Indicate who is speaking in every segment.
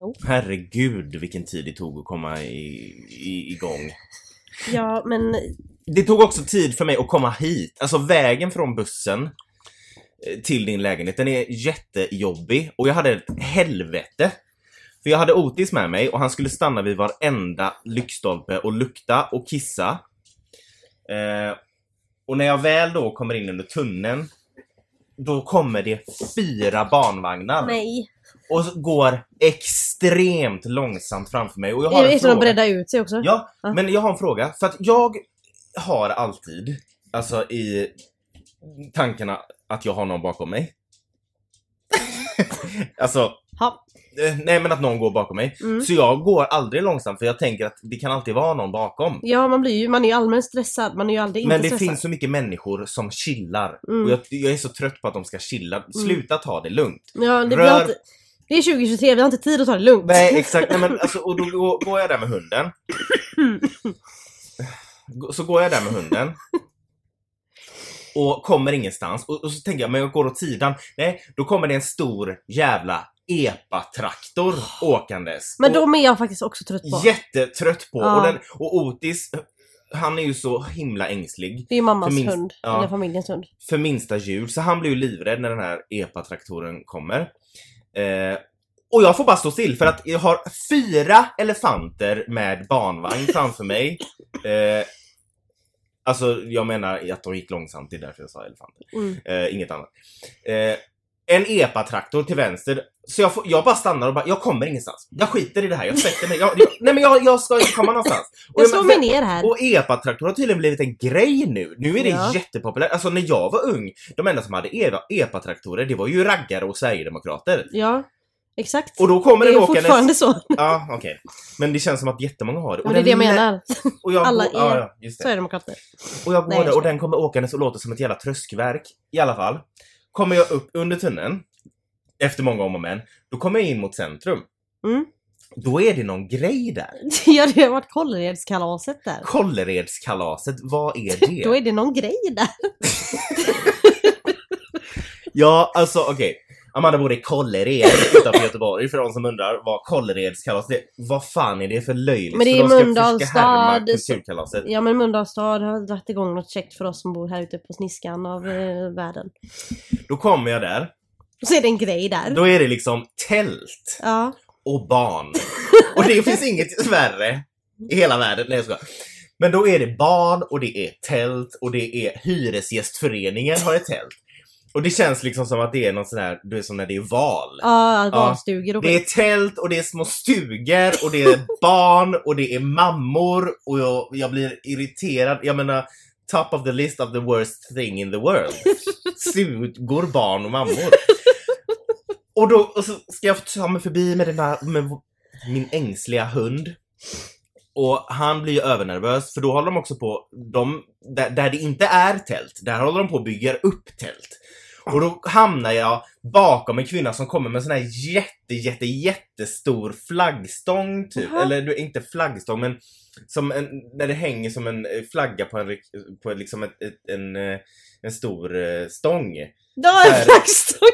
Speaker 1: Jo.
Speaker 2: Herregud vilken tid det tog att komma i, i, igång.
Speaker 1: Ja, men
Speaker 2: Det tog också tid för mig att komma hit. Alltså vägen från bussen eh, till din lägenhet, den är jättejobbig och jag hade ett helvete. För jag hade Otis med mig och han skulle stanna vid varenda lyktstolpe och lukta och kissa. Eh, och när jag väl då kommer in under tunneln, då kommer det fyra barnvagnar
Speaker 1: nej.
Speaker 2: och så går extremt långsamt framför mig. Och jag har en
Speaker 1: Utan att
Speaker 2: fråga.
Speaker 1: bredda ut sig också.
Speaker 2: Ja,
Speaker 1: Ja.
Speaker 2: men jag har en fråga. För att jag har alltid, alltså i tankarna att jag har någon bakom mig. alltså,
Speaker 1: Ja.
Speaker 2: eh, nej men att någon går bakom mig.
Speaker 1: Mm.
Speaker 2: Så jag går aldrig långsamt för jag tänker att det kan alltid vara någon bakom.
Speaker 1: Ja, man blir ju, man är ju allmänt stressad. Man är ju aldrig
Speaker 2: Men
Speaker 1: inte
Speaker 2: det
Speaker 1: stressad.
Speaker 2: finns så mycket människor som chillar.
Speaker 1: Mm.
Speaker 2: Och jag, jag är så trött på att de ska chilla. Sluta ta det lugnt.
Speaker 1: Ja, det,
Speaker 2: Rör-
Speaker 1: vi har inte, det är 2023, vi har inte tid att ta det lugnt.
Speaker 2: Nej exakt, nej, men alltså, och då går, går jag där med hunden. Gå- Så går jag där med hunden. Och kommer ingenstans. Och, och så tänker jag, men jag går åt sidan. Nej, då kommer det en stor jävla epatraktor åkandes.
Speaker 1: Men
Speaker 2: Och
Speaker 1: de är jag faktiskt också trött på.
Speaker 2: Jättetrött på. Och,
Speaker 1: Ja.
Speaker 2: den, och Otis, han är ju så himla ängslig.
Speaker 1: Det är ju mammas
Speaker 2: För minst-
Speaker 1: hund,
Speaker 2: ja.
Speaker 1: eller familjens hund.
Speaker 2: för minsta ljud. Så han blir ju livrädd när den här epatraktoren kommer. Eh, och jag får bara stå still för att jag har fyra elefanter med barnvagn framför mig. Eh, alltså jag menar att de gick långsamt, det är därför jag sa elefanter.
Speaker 1: Mm.
Speaker 2: Eh, inget annat. Eh, en epatraktor till vänster. Så jag, får, jag bara stannar och bara, jag kommer ingenstans. Jag skiter i det här, jag sätter mig. Jag, jag, nej men jag, jag ska inte komma någonstans. Och
Speaker 1: Jag slår
Speaker 2: men-
Speaker 1: mig ner här.
Speaker 2: och epatraktor har tydligen blivit en grej nu. Nu är det
Speaker 1: Ja.
Speaker 2: jättepopulärt. Alltså när jag var ung, de enda som hade era- epatraktorer det var ju raggare och sverigedemokrater.
Speaker 1: Ja, exakt.
Speaker 2: Och då kommer
Speaker 1: det
Speaker 2: den
Speaker 1: är
Speaker 2: åkandes...
Speaker 1: fortfarande så.
Speaker 2: Ja, okej. Men det känns som att jättemånga har det.
Speaker 1: Men det är det jag
Speaker 2: den lä-
Speaker 1: menar.
Speaker 2: Och jag
Speaker 1: Alla
Speaker 2: går... ja,
Speaker 1: er.
Speaker 2: ja, just det.
Speaker 1: Sverigedemokrater.
Speaker 2: Och jag går
Speaker 1: Nej, jag
Speaker 2: där och
Speaker 1: förstår.
Speaker 2: den kommer åkandes och låter som ett jävla tröskverk. I alla fall. Kommer jag upp under tunneln, efter många om och men, då kommer jag in mot centrum.
Speaker 1: Mm.
Speaker 2: Då är det någon grej där.
Speaker 1: Ja, det har varit Kålleredskalaset där.
Speaker 2: Kålleredskalaset, vad är det?
Speaker 1: Då är det någon grej där.
Speaker 2: Ja, alltså okej. Amanda bor i Kållered utanför Göteborg för de som undrar vad Kållereds kalas det. Vad fan är det för löjligt?
Speaker 1: Men det
Speaker 2: För
Speaker 1: är
Speaker 2: de ska
Speaker 1: Mölndals
Speaker 2: försöka härma
Speaker 1: stad, så-
Speaker 2: Kulturkalaset.
Speaker 1: Ja, men Mölndals stad har dragit igång något käckt för oss som bor här ute på sniskan av eh, världen.
Speaker 2: Då kommer jag där.
Speaker 1: Och så är det en grej där.
Speaker 2: Då är det liksom tält
Speaker 1: Ja.
Speaker 2: och barn. Och det finns inget värre i hela världen. Nej jag skojar. Men då är det barn och det är tält och det är Hyresgästföreningen har ett tält. Och det känns liksom som att det är någon sån här, du vet som när det är val.
Speaker 1: Ja, barnstugor och
Speaker 2: Det är
Speaker 1: skit.
Speaker 2: tält och det är små stugor och det är barn och det är mammor och jag, jag blir irriterad. Jag menar, top of the list of the worst thing in the world. Stugor, barn och mammor. Och då och så ska jag ta mig förbi med, den här, med min ängsliga hund. Och han blir ju övernervös för då håller de också på, de, där, där det inte är tält, där håller de på och bygger upp tält. Och då hamnar jag bakom en kvinna som kommer med en sån här jätte, jätte, jättestor flaggstång typ.
Speaker 1: Jaha.
Speaker 2: Eller du, inte flaggstång men som en, när det hänger som en eh, flagga på en, rik- på liksom ett, ett, en, eh, en stor eh, stång.
Speaker 1: Det var
Speaker 2: Där.
Speaker 1: en flaggstång!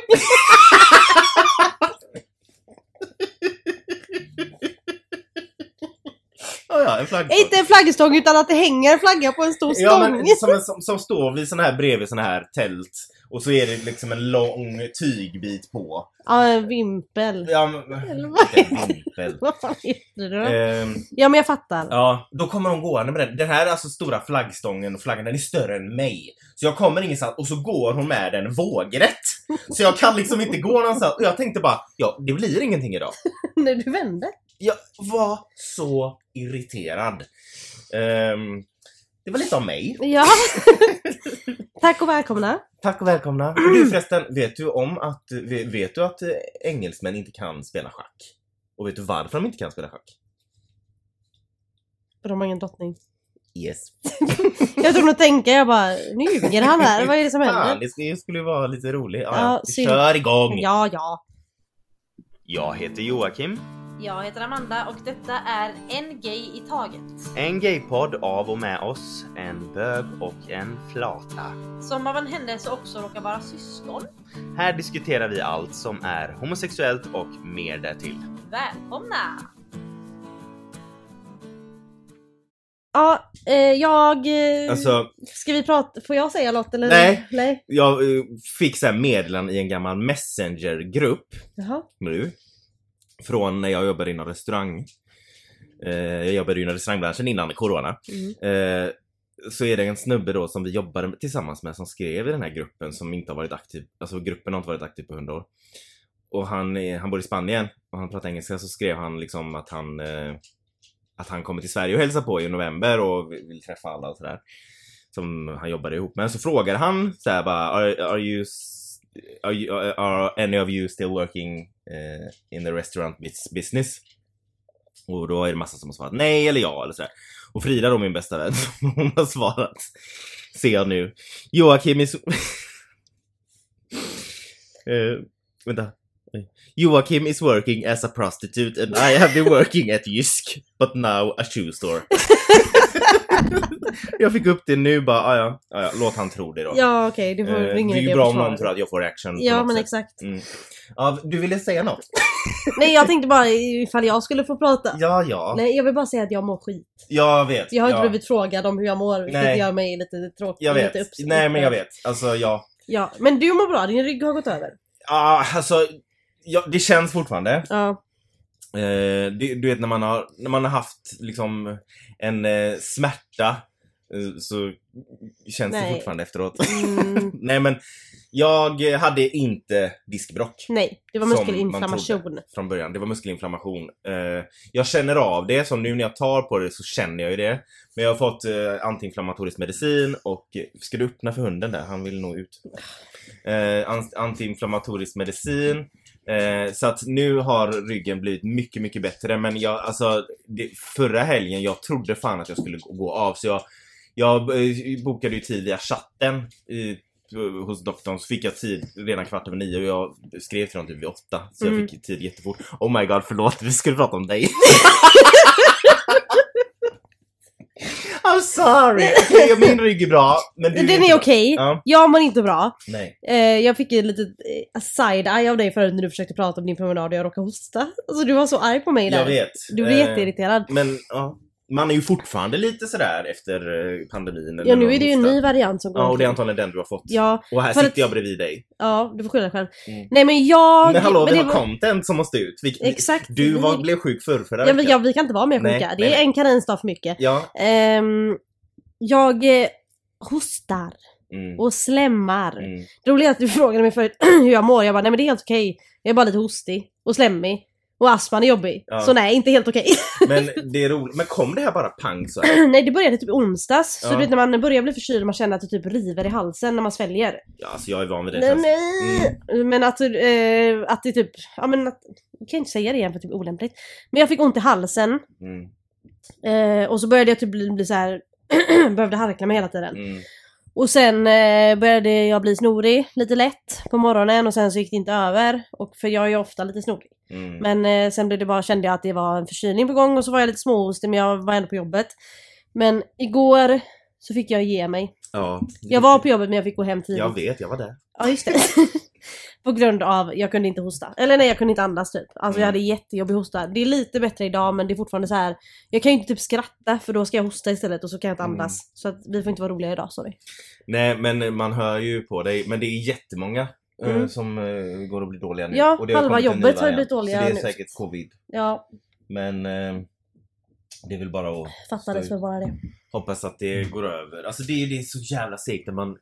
Speaker 2: Ja, ja, en flaggstång.
Speaker 1: Inte en flaggstång utan att det hänger en flagga på en stor stång.
Speaker 2: Ja, men som, som, som står vid såna här, bredvid såna här tält. Och så är det liksom en lång tygbit på.
Speaker 1: Ja, en vimpel.
Speaker 2: Ja, men,
Speaker 1: Eller vad
Speaker 2: vilken vimpel.
Speaker 1: Vad fan heter det då?
Speaker 2: Ehm,
Speaker 1: Ja, men jag fattar.
Speaker 2: ja, då kommer de gående med den. Den här alltså stora flaggstången och flaggan, den är större än mig. Så jag kommer ingenstans och så går hon med den vågrätt. Så jag kan liksom inte gå någonstans. Och jag tänkte bara, ja det blir ingenting idag.
Speaker 1: När du vände.
Speaker 2: Jag var så irriterad. Ehm, det var lite av mig.
Speaker 1: Ja. Tack och välkomna.
Speaker 2: Tack och välkomna. Och du förresten, vet du om att, ve- vet du att eh, engelsmän inte kan spela schack? Och vet du varför de inte kan spela schack?
Speaker 1: De har ingen drottning.
Speaker 2: Yes.
Speaker 1: Jag tror nog tänka, jag bara, nu ljuger han här. Vad är det som
Speaker 2: Fan,
Speaker 1: händer?
Speaker 2: det skulle- det skulle ju vara lite roligt. Ja,
Speaker 1: Ja,
Speaker 2: ja,
Speaker 1: synd.
Speaker 2: kör igång!
Speaker 1: Ja, ja.
Speaker 2: Jag heter Joakim.
Speaker 3: Jag heter Amanda och detta är En Gay i Taget.
Speaker 2: En gaypodd av och med oss, en bög och en flata.
Speaker 3: Som av en händelse också råkar vara syskon.
Speaker 2: Här diskuterar vi allt som är homosexuellt och mer därtill.
Speaker 3: Välkomna!
Speaker 1: Ja, eh, jag... eh,
Speaker 2: Alltså,
Speaker 1: Ska vi prata? Får jag säga något eller?
Speaker 2: Nej.
Speaker 1: Nej.
Speaker 2: jag eh, fick så här meddelanden i en gammal messengergrupp
Speaker 1: Jaha.
Speaker 2: nu. Från när jag jobbade inom restaurang. Eh, jag jobbade ju inom restaurangbranschen innan corona.
Speaker 1: Mm.
Speaker 2: Eh, så är det en snubbe då som vi jobbade med- tillsammans med som skrev i den här gruppen som inte har varit aktiv, alltså gruppen har inte varit aktiv på 100 år. Och han, är, han bor i Spanien och han pratar engelska så skrev han liksom att han eh, att han kommer till Sverige och hälsar på i november och vill vill träffa alla och sådär. Som han jobbade ihop med. Så frågar han såhär bara are, are you s- Are, you, uh, are any of you still working eh, in the restaurant bus- business? Och då är det massa som har svarat nej eller ja eller sådär. Och Frida då min bästa vän, hon har svarat. Ser jag nu. Joakim är... So- Eh, vänta. Nej. Joakim is working as a prostitute and I have been working at Jysk, but now a shoe store. jag fick upp det nu bara, "Ah, ja, ah, ja, låt han tro det då.
Speaker 1: Ja okej, det
Speaker 2: Eh,
Speaker 1: var
Speaker 2: det
Speaker 1: ingen
Speaker 2: är
Speaker 1: idé
Speaker 2: ju
Speaker 1: att
Speaker 2: bra om
Speaker 1: försvara
Speaker 2: någon
Speaker 1: det.
Speaker 2: tror att jag får reaction. på
Speaker 1: Ja
Speaker 2: något
Speaker 1: men
Speaker 2: sätt.
Speaker 1: exakt.
Speaker 2: Mm. Ja, du ville säga något?
Speaker 1: Nej jag tänkte bara ifall jag skulle få prata.
Speaker 2: Ja, ja.
Speaker 1: Nej jag vill bara säga att jag mår skit.
Speaker 2: Jag vet.
Speaker 1: Jag har
Speaker 2: ja.
Speaker 1: inte blivit frågad om hur jag mår vilket
Speaker 2: Nej.
Speaker 1: gör mig lite tråkig.
Speaker 2: Jag vet.
Speaker 1: Lite upps-
Speaker 2: Nej, men jag vet. Alltså, ja.
Speaker 1: Ja, men du mår bra, din rygg har gått över.
Speaker 2: Ja, alltså. Ja, det känns fortfarande.
Speaker 1: Ja.
Speaker 2: Eh, det, du vet när man har, när man har haft liksom en eh, smärta eh, så känns
Speaker 1: Nej.
Speaker 2: det fortfarande efteråt.
Speaker 1: Mm,
Speaker 2: Nej men, jag eh, hade inte diskbrock
Speaker 1: nej, det var
Speaker 2: Som
Speaker 1: muskelinflammation.
Speaker 2: från början. Det var muskelinflammation. Eh, jag känner av det, så nu när jag tar på det så känner jag ju det. Men jag har fått eh, antiinflammatorisk medicin och... eh, Ska du öppna för hunden där? Han vill nå ut. Eh, an- antiinflammatorisk medicin. Eh, så att nu har ryggen blivit mycket, mycket bättre. Men jag, alltså, det, förra helgen, jag trodde fan att jag skulle gå- gå av. Så jag, jag eh, bokade ju tid via chatten i, hos doktorn. Så fick jag tid redan kvart över nio och jag skrev till dem typ vid åtta. Så
Speaker 1: Mm.
Speaker 2: jag fick tid jättefort. Oh my god, förlåt. Vi skulle prata om dig. I'm sorry. Okej, Min rygg är bra. Men du
Speaker 1: Den
Speaker 2: inte
Speaker 1: är
Speaker 2: bra.
Speaker 1: okej.
Speaker 2: Ja,
Speaker 1: Jag mår inte bra.
Speaker 2: nej.
Speaker 1: Eh, jag fick ju lite eh, side-eye av dig förut när du försökte prata om din promenad och jag råkade hosta. Alltså du var så arg på mig där.
Speaker 2: Jag vet.
Speaker 1: Du blev
Speaker 2: Eh,
Speaker 1: jätteirriterad.
Speaker 2: Men ja, man är ju fortfarande lite sådär efter eh, pandemin. eller
Speaker 1: Ja nu
Speaker 2: någon
Speaker 1: är det ju en
Speaker 2: hosta.
Speaker 1: ny variant som går
Speaker 2: Ja, och det är
Speaker 1: omkring.
Speaker 2: antagligen den du har fått.
Speaker 1: Ja,
Speaker 2: Och här
Speaker 1: För
Speaker 2: sitter
Speaker 1: att-
Speaker 2: jag bredvid dig.
Speaker 1: ja, du får skylla dig själv.
Speaker 2: Mm.
Speaker 1: Nej men jag...
Speaker 2: men hallå, vi
Speaker 1: det
Speaker 2: har
Speaker 1: var-
Speaker 2: content som måste ut. Vi,
Speaker 1: Exakt.
Speaker 2: du
Speaker 1: Vi-
Speaker 2: var, blev sjuk förr, förra
Speaker 1: ja, men,
Speaker 2: veckan.
Speaker 1: ja, vi kan inte vara mer
Speaker 2: Nej,
Speaker 1: sjuka. det
Speaker 2: nej,
Speaker 1: är
Speaker 2: nej.
Speaker 1: en karensdag för mycket.
Speaker 2: Ja.
Speaker 1: Ehm, jag eh, hostar
Speaker 2: Mm.
Speaker 1: och slemmar.
Speaker 2: Mm.
Speaker 1: Det roliga är att du frågade mig förut hur jag mår. Jag bara, nej men det är helt okej. Jag är bara lite hostig och slemmig. Och astman är jobbig.
Speaker 2: Ja.
Speaker 1: Så nej, inte helt okej.
Speaker 2: Men det är roligt. Men kom det här bara pang så här?
Speaker 1: nej, det började typ i onsdags. Så
Speaker 2: Ja.
Speaker 1: du vet när man börjar bli förkyld och man känner att det typ river i halsen när man sväljer.
Speaker 2: Ja, alltså jag är Mm. van vid det.
Speaker 1: Nej,
Speaker 2: känns-
Speaker 1: nej. Men att, eh, att det typ, ja men att, jag kan inte säga det igen för det är typ olämpligt. Men jag fick ont i halsen
Speaker 2: Mm.
Speaker 1: eh, och så började jag typ bli, bli så här behövde harkla mig hela tiden.
Speaker 2: Mm.
Speaker 1: Och sen eh, började jag bli snorig lite lätt på morgonen och sen så gick det inte över. Och, för jag är ju ofta lite snorig.
Speaker 2: Mm.
Speaker 1: Men eh, sen blev det bara, kände jag att det var en förkylning på gång och så var jag lite småhostig men jag var ändå på jobbet. Men igår så fick jag ge mig.
Speaker 2: Ja.
Speaker 1: Jag var på jobbet men jag fick gå hem tidigt.
Speaker 2: Jag vet, jag var där.
Speaker 1: Ja just det. på grund av, jag kunde inte hosta. Eller nej jag kunde inte andas typ. Alltså jag
Speaker 2: Mm.
Speaker 1: hade jättejobbig hosta. Det är lite bättre idag men det är fortfarande så här. Jag kan ju inte typ skratta för då ska jag hosta istället och så kan jag inte
Speaker 2: Mm.
Speaker 1: andas. Så att vi får inte vara roliga idag, sorry.
Speaker 2: Nej, men man hör ju på dig. Men det är jättemånga eh,
Speaker 1: Mm.
Speaker 2: som eh, går och blir dåliga nu.
Speaker 1: Ja,
Speaker 2: och det har
Speaker 1: halva
Speaker 2: kommit en ny
Speaker 1: jobbet har ju
Speaker 2: variant.
Speaker 1: blivit dåliga
Speaker 2: Så det är
Speaker 1: nu.
Speaker 2: säkert covid.
Speaker 1: Ja,
Speaker 2: Men eh, det är väl bara att
Speaker 1: fattades
Speaker 2: Så-
Speaker 1: väl bara det.
Speaker 2: hoppas att det går över. Alltså det, är- det är så jävla segt när man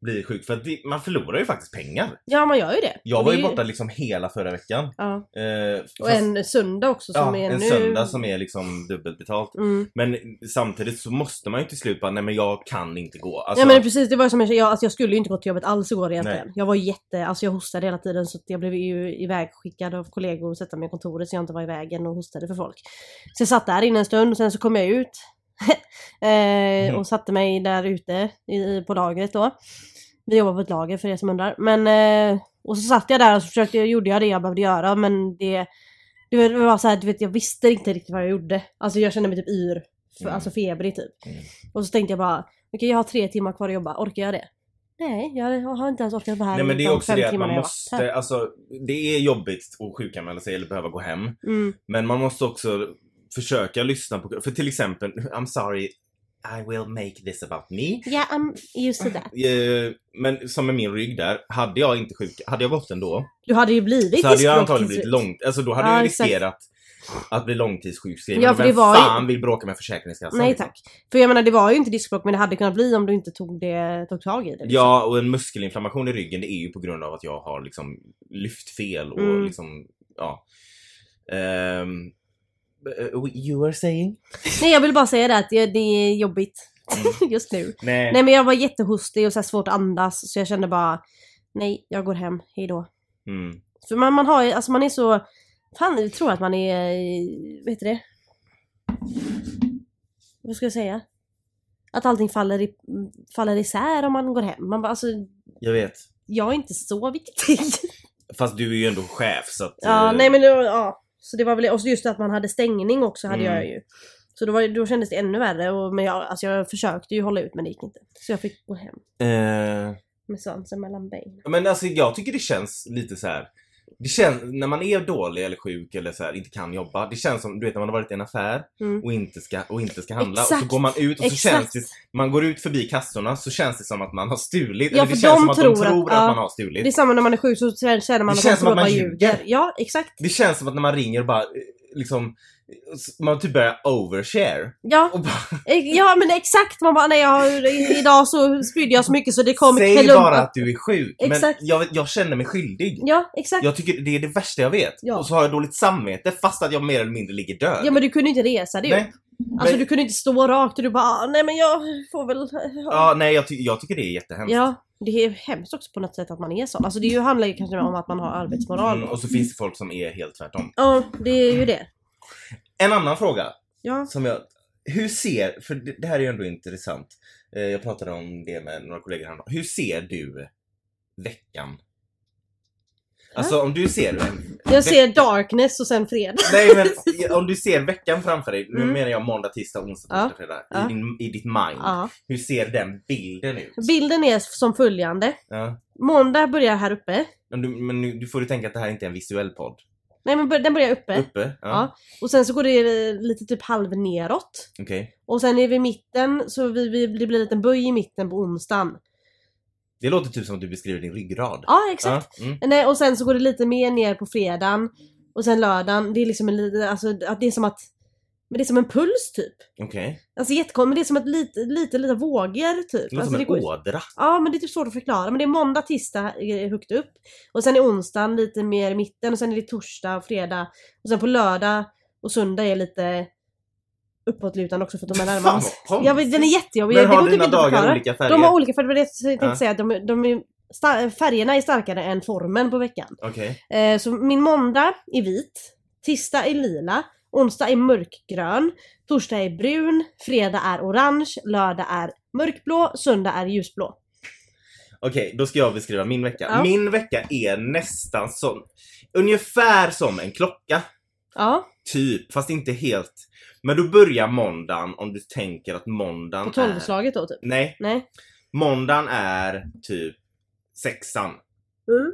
Speaker 2: blir sjuk för att det, man förlorar ju faktiskt pengar.
Speaker 1: Ja man gör ju det.
Speaker 2: Jag
Speaker 1: Och
Speaker 2: var
Speaker 1: det
Speaker 2: ju
Speaker 1: är
Speaker 2: borta liksom hela förra veckan.
Speaker 1: Ja.
Speaker 2: Eh,
Speaker 1: Och
Speaker 2: fast-
Speaker 1: en söndag också som
Speaker 2: ja,
Speaker 1: är
Speaker 2: en
Speaker 1: nu.
Speaker 2: söndag som är liksom dubbelt betalt.
Speaker 1: Mm.
Speaker 2: Men samtidigt så måste man ju till slut bara, nej men jag kan inte gå.
Speaker 1: Nej
Speaker 2: Alltså,
Speaker 1: men precis, det var som jag, jag, alltså, jag skulle ju inte gå till jobbet alls igår egentligen. Jag var jätte, alltså jag hostade hela tiden så att jag blev ju ivägskickad av kollegor och sätta mig i kontoret så jag inte var i vägen och hostade för folk. Så jag satt där inne en stund och sen så kom jag ut. eh,
Speaker 2: Mhm.
Speaker 1: och satte mig där ute i, i- på lagret då. Vi jobbar på ett lager för er som undrar. Men, eh, och så satt jag där och så försökte, gjorde jag det jag behövde göra men det Det var- det var så här, du vet, jag visste inte riktigt vad jag gjorde. Alltså jag kände mig typ yr. För,
Speaker 2: Mm.
Speaker 1: Alltså febrig typ.
Speaker 2: Mm.
Speaker 1: Och så tänkte jag bara, okej jag har tre timmar kvar att jobba, orkar jag det? Nej, jag har inte ens orkat vara här
Speaker 2: Nej men det är
Speaker 1: utan
Speaker 2: också
Speaker 1: liksom fem
Speaker 2: det att
Speaker 1: timmar
Speaker 2: man
Speaker 1: när jag varit här.
Speaker 2: måste, alltså det är jobbigt att sjukanmäla sig eller behöva gå hem.
Speaker 1: Mm.
Speaker 2: Men man måste också försöka lyssna på, för till exempel, I'm sorry, I will make this about me.
Speaker 1: Yeah, I'm used to that.
Speaker 2: Eh, Men som med min rygg där, hade jag inte sjuk, hade jag gått ändå
Speaker 1: Du hade ju blivit
Speaker 2: så hade
Speaker 1: diskbråck
Speaker 2: jag
Speaker 1: till
Speaker 2: antagligen blivit
Speaker 1: slut.
Speaker 2: lång, alltså då hade
Speaker 1: Ja,
Speaker 2: jag
Speaker 1: exakt.
Speaker 2: riskerat att bli långtidssjukskriven.
Speaker 1: Ja,
Speaker 2: Och
Speaker 1: för
Speaker 2: Vem
Speaker 1: det var ju-
Speaker 2: fan vill bråka med Försäkringskassan?
Speaker 1: Nej
Speaker 2: liksom?
Speaker 1: tack. För jag menar det var ju inte diskbråck men det hade kunnat bli om du inte tog, det, tog tag i det. liksom.
Speaker 2: Ja, och en muskelinflammation i ryggen det är ju på grund av att jag har liksom lyft fel och
Speaker 1: Mm.
Speaker 2: liksom, ja. Ehm, eh, you were saying?
Speaker 1: Nej jag vill bara säga det att det, det är jobbigt
Speaker 2: Mm.
Speaker 1: just nu.
Speaker 2: Nej.
Speaker 1: Nej men jag var jättehostig och så här svårt att andas så jag kände bara Nej, jag går hem, hejdå.
Speaker 2: Mm.
Speaker 1: För man, man har ju- alltså man är så Fan, jag tror att man är, vad heter det? Vad ska jag säga? Att allting faller, i, faller isär om man går hem. Man bara, alltså,
Speaker 2: Jag vet.
Speaker 1: jag är inte så viktig.
Speaker 2: Fast du är ju ändå chef så att...
Speaker 1: Ja,
Speaker 2: eh,
Speaker 1: nej men det var, ja. Så det var väl, och så just att man hade stängning också hade
Speaker 2: Mm.
Speaker 1: jag ju. Så då, var, då kändes det ännu värre. Och, men jag, alltså jag försökte ju hålla ut men det gick inte. Så jag fick gå hem
Speaker 2: eh,
Speaker 1: med svansen mellan benen.
Speaker 2: men alltså jag tycker det känns lite så här. Det känns, när man är dålig eller sjuk eller så här, inte kan jobba. Det känns som, du vet när man har varit i en affär
Speaker 1: Mm.
Speaker 2: och inte ska, och inte ska handla och så
Speaker 1: Exakt.
Speaker 2: går man ut och så känns
Speaker 1: Exakt!
Speaker 2: det, man går ut förbi kassorna så känns det som att man har stulit.
Speaker 1: Ja,
Speaker 2: eller det
Speaker 1: för
Speaker 2: känns
Speaker 1: de
Speaker 2: som att
Speaker 1: tror
Speaker 2: de tror
Speaker 1: att-
Speaker 2: att,
Speaker 1: ja.
Speaker 2: man har stulit.
Speaker 1: Det är samma när man är sjuk så känner man
Speaker 2: Det
Speaker 1: att man
Speaker 2: känns som
Speaker 1: tror
Speaker 2: att man
Speaker 1: ljuger.
Speaker 2: ljuger.
Speaker 1: Ja, exakt.
Speaker 2: Det känns som att när man ringer och bara eh, liksom, man typ börjar overshare.
Speaker 1: Ja,
Speaker 2: Och bara,
Speaker 1: eh, ja men exakt. Man bara, nej jag, har- i- idag så spydde jag så mycket så det kom
Speaker 2: säg
Speaker 1: klump-
Speaker 2: bara att du är sjuk.
Speaker 1: Exakt.
Speaker 2: Men jag, jag känner mig skyldig.
Speaker 1: Ja, exakt.
Speaker 2: Jag tycker det är det värsta jag vet.
Speaker 1: Ja.
Speaker 2: Och så har jag dåligt samvete fast att jag mer eller mindre ligger död.
Speaker 1: Ja men du kunde inte resa dig upp.
Speaker 2: nej.
Speaker 1: Alltså
Speaker 2: men-
Speaker 1: du kunde inte stå rakt och du bara, ah, nej men jag får väl...
Speaker 2: Ja, nej jag, ty- jag tycker det är jättehemskt.
Speaker 1: Ja, det är hemskt också på något sätt att man är sån. Alltså det är ju, handlar ju kanske om att man har arbetsmoral.
Speaker 2: Mm, och så finns det folk som är helt tvärtom.
Speaker 1: Ja, det är ju det.
Speaker 2: En annan fråga
Speaker 1: Ja.
Speaker 2: som jag... Hur ser, för det det här är ju ändå intressant. Eh, Jag pratade om det med några kollegor häromdagen. Hur ser du veckan? Alltså om du ser en...
Speaker 1: Jag ser darkness och sen fred.
Speaker 2: Nej men om du ser veckan framför dig, nu
Speaker 1: Mm.
Speaker 2: menar jag måndag, tisdag, onsdag,
Speaker 1: Ja.
Speaker 2: torsdag, fredag.
Speaker 1: Ja.
Speaker 2: I, din, I ditt mind.
Speaker 1: Ja.
Speaker 2: Hur ser den bilden ut?
Speaker 1: Bilden är som följande.
Speaker 2: Ja.
Speaker 1: Måndag börjar här uppe.
Speaker 2: Men, du, men nu, du får ju tänka att det här inte är en visuell podd.
Speaker 1: Nej men bör- den börjar uppe.
Speaker 2: Uppe? Ja.
Speaker 1: Ja. Och sen så går det eh, lite typ halv neråt.
Speaker 2: Okej.
Speaker 1: Och sen är vi i mitten, så vi, vi, det blir en liten böj i mitten på onsdagen.
Speaker 2: Det låter typ som att du beskriver din ryggrad.
Speaker 1: Ja, exakt.
Speaker 2: Ja, mm.
Speaker 1: Nej, och sen så går det lite mer ner på fredagen. Och sen lördagen. Det är liksom en liten, alltså att det är som att... Men det är som en puls typ.
Speaker 2: Okej.
Speaker 1: Alltså jättekonstigt, men det är som ett lite, lite, lite vågor typ.
Speaker 2: Det låter
Speaker 1: alltså,
Speaker 2: som en
Speaker 1: går-
Speaker 2: ådra.
Speaker 1: Ja men det är typ svårt att förklara. Men det är måndag, tisdag eh, högt upp. Och sen är onsdagen lite mer i mitten och sen är det torsdag och fredag. Och sen på lördag och söndag är lite uppåtlutande också för att de är närmare
Speaker 2: Fan,
Speaker 1: oss.
Speaker 2: vad
Speaker 1: Jag vet, den är jättejobbig.
Speaker 2: Men
Speaker 1: det går
Speaker 2: har
Speaker 1: typ
Speaker 2: dina
Speaker 1: inte att
Speaker 2: dagar
Speaker 1: förklara.
Speaker 2: olika färger?
Speaker 1: De har olika färger, det var det jag tänkte
Speaker 2: Ja.
Speaker 1: säga. De, de är sta- färgerna är starkare än formen på veckan.
Speaker 2: Okej.
Speaker 1: Eh, så min måndag är vit, tisdag är lila, onsdag är mörkgrön, torsdag är brun, fredag är orange, lördag är mörkblå, söndag är ljusblå.
Speaker 2: Okej, då ska jag beskriva min vecka.
Speaker 1: Ja.
Speaker 2: Min vecka är nästan som, ungefär som en klocka.
Speaker 1: Ja,
Speaker 2: Typ, fast inte helt. Men då börjar måndagen om du tänker att måndagen
Speaker 1: på
Speaker 2: är...
Speaker 1: tolvslaget då typ.
Speaker 2: Nej,
Speaker 1: Nej.
Speaker 2: måndagen är typ sexan.
Speaker 1: Mm.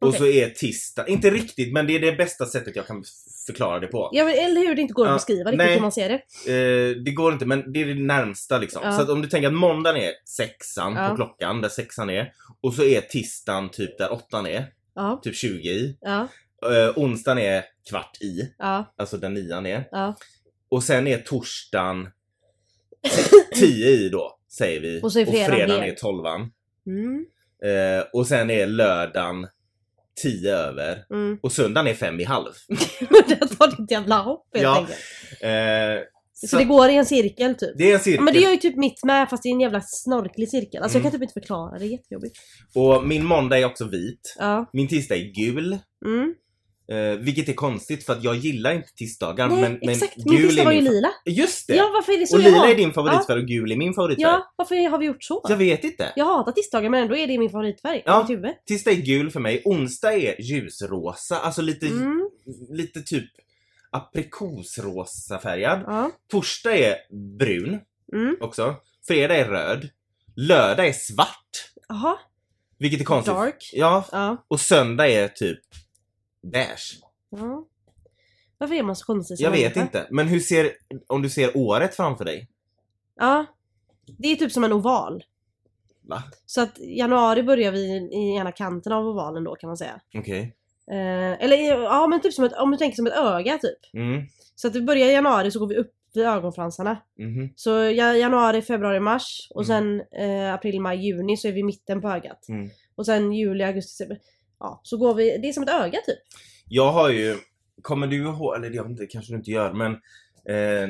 Speaker 2: Och så är tisdag, inte riktigt men det är det bästa sättet jag kan förklara det på.
Speaker 1: Ja, men, eller hur? Det inte går att
Speaker 2: Ja,
Speaker 1: beskriva riktigt
Speaker 2: nej.
Speaker 1: hur man ser det.
Speaker 2: Eh, det går inte men det är det närmsta liksom.
Speaker 1: Ja.
Speaker 2: Så att om du tänker att måndagen är sexan
Speaker 1: Ja.
Speaker 2: på klockan, där sexan är. Och så är tisdagen typ där åttan är,
Speaker 1: Ja,
Speaker 2: typ 20 i.
Speaker 1: ja,
Speaker 2: Eh, onsdagen är kvart i,
Speaker 1: ja,
Speaker 2: alltså där nian är.
Speaker 1: ja.
Speaker 2: Och sen är torsdagen 10 i då, säger vi.
Speaker 1: Och så är fredagen
Speaker 2: fredagen
Speaker 1: ner.
Speaker 2: är tolvan.
Speaker 1: Mm,
Speaker 2: Eh, och sen är lördagen 10 över.
Speaker 1: mm.
Speaker 2: Och söndagen är fem i halv.
Speaker 1: det var ditt jävla hopp helt
Speaker 2: Ja,
Speaker 1: enkelt.
Speaker 2: Eh,
Speaker 1: Så,
Speaker 2: så
Speaker 1: det går i en cirkel typ.
Speaker 2: det är en cirkel.
Speaker 1: Men det gör ju typ mitt med fast i en jävla snorklig cirkel. Alltså
Speaker 2: Mm.
Speaker 1: jag kan typ inte förklara, det är jättejobbigt.
Speaker 2: Och min måndag är också vit.
Speaker 1: Ja,
Speaker 2: Min tisdag är gul.
Speaker 1: mm,
Speaker 2: Eh, vilket är konstigt för att jag gillar inte tisdagar.
Speaker 1: Nej,
Speaker 2: men, men
Speaker 1: exakt. Min tisdag var ju
Speaker 2: min fa-
Speaker 1: lila.
Speaker 2: Just det!
Speaker 1: Ja, varför är det så
Speaker 2: och
Speaker 1: jag
Speaker 2: lila
Speaker 1: har?
Speaker 2: är din favoritfärg och gul är min favoritfärg.
Speaker 1: Ja, varför har vi gjort så?
Speaker 2: Jag vet inte.
Speaker 1: Jag hatar tisdagar men ändå är det min favoritfärg.
Speaker 2: Ja.
Speaker 1: Ja. Mitt huvud.
Speaker 2: Tisdag är gul för mig. Onsdag är ljusrosa. Alltså lite,
Speaker 1: Mm,
Speaker 2: lite typ aprikosrosa färgad.
Speaker 1: ja.
Speaker 2: Torsdag är brun
Speaker 1: Mm.
Speaker 2: också. Fredag är röd. Lördag är svart.
Speaker 1: Jaha,
Speaker 2: Vilket är konstigt.
Speaker 1: dark.
Speaker 2: Ja,
Speaker 1: Ja.
Speaker 2: och söndag är typ beige.
Speaker 1: ja. Varför är man så konstig som
Speaker 2: Jag vet
Speaker 1: människa?
Speaker 2: inte. Men hur ser, om du ser året framför dig?
Speaker 1: Ja. Det är typ som en oval.
Speaker 2: Va?
Speaker 1: Så att januari börjar vi i ena kanten av ovalen då kan man säga.
Speaker 2: Okej.
Speaker 1: Eh, eller ja men typ som ett, om du tänker som ett öga typ.
Speaker 2: Mm.
Speaker 1: Så att vi börjar i januari så går vi upp vid ögonfransarna.
Speaker 2: Mhm.
Speaker 1: Så ja, januari, februari, mars och sen eh, april, maj, juni så är vi i mitten på ögat.
Speaker 2: Mm.
Speaker 1: Och sen juli, augusti, september. Ja, så går vi, det är som ett öga typ.
Speaker 2: Jag har ju, kommer du ihåg, eller jag vet inte, kanske du inte gör men... Eh,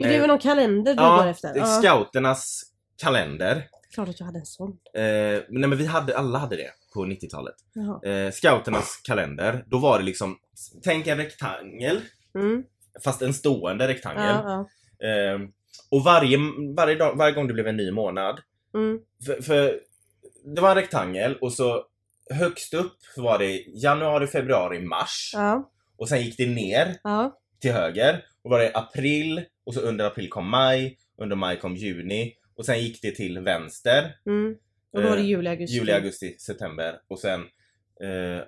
Speaker 1: Men Det var någon kalender du går
Speaker 2: ja,
Speaker 1: efter.
Speaker 2: det är
Speaker 1: Ja,
Speaker 2: scouternas kalender.
Speaker 1: klart att jag hade en sån.
Speaker 2: Eh, nej men vi hade, alla hade det på 90-talet.
Speaker 1: Jaha.
Speaker 2: Eh, scouternas kalender, då var det liksom, tänk en rektangel,
Speaker 1: Mm.
Speaker 2: fast en stående rektangel.
Speaker 1: Ja,
Speaker 2: Eh, och varje, varje, dag, varje gång det blev en ny månad.
Speaker 1: ja. Mm.
Speaker 2: För, för det var en rektangel och så högst upp var det januari, februari, mars.
Speaker 1: ja,
Speaker 2: Och sen gick det ner
Speaker 1: ja.
Speaker 2: till höger. Och var det april och så under april kom maj. Under maj kom juni. Och sen gick det till vänster.
Speaker 1: Mm. Och då är det
Speaker 2: Eh,
Speaker 1: juli, augusti.
Speaker 2: Juli, augusti, september. Och sen eh,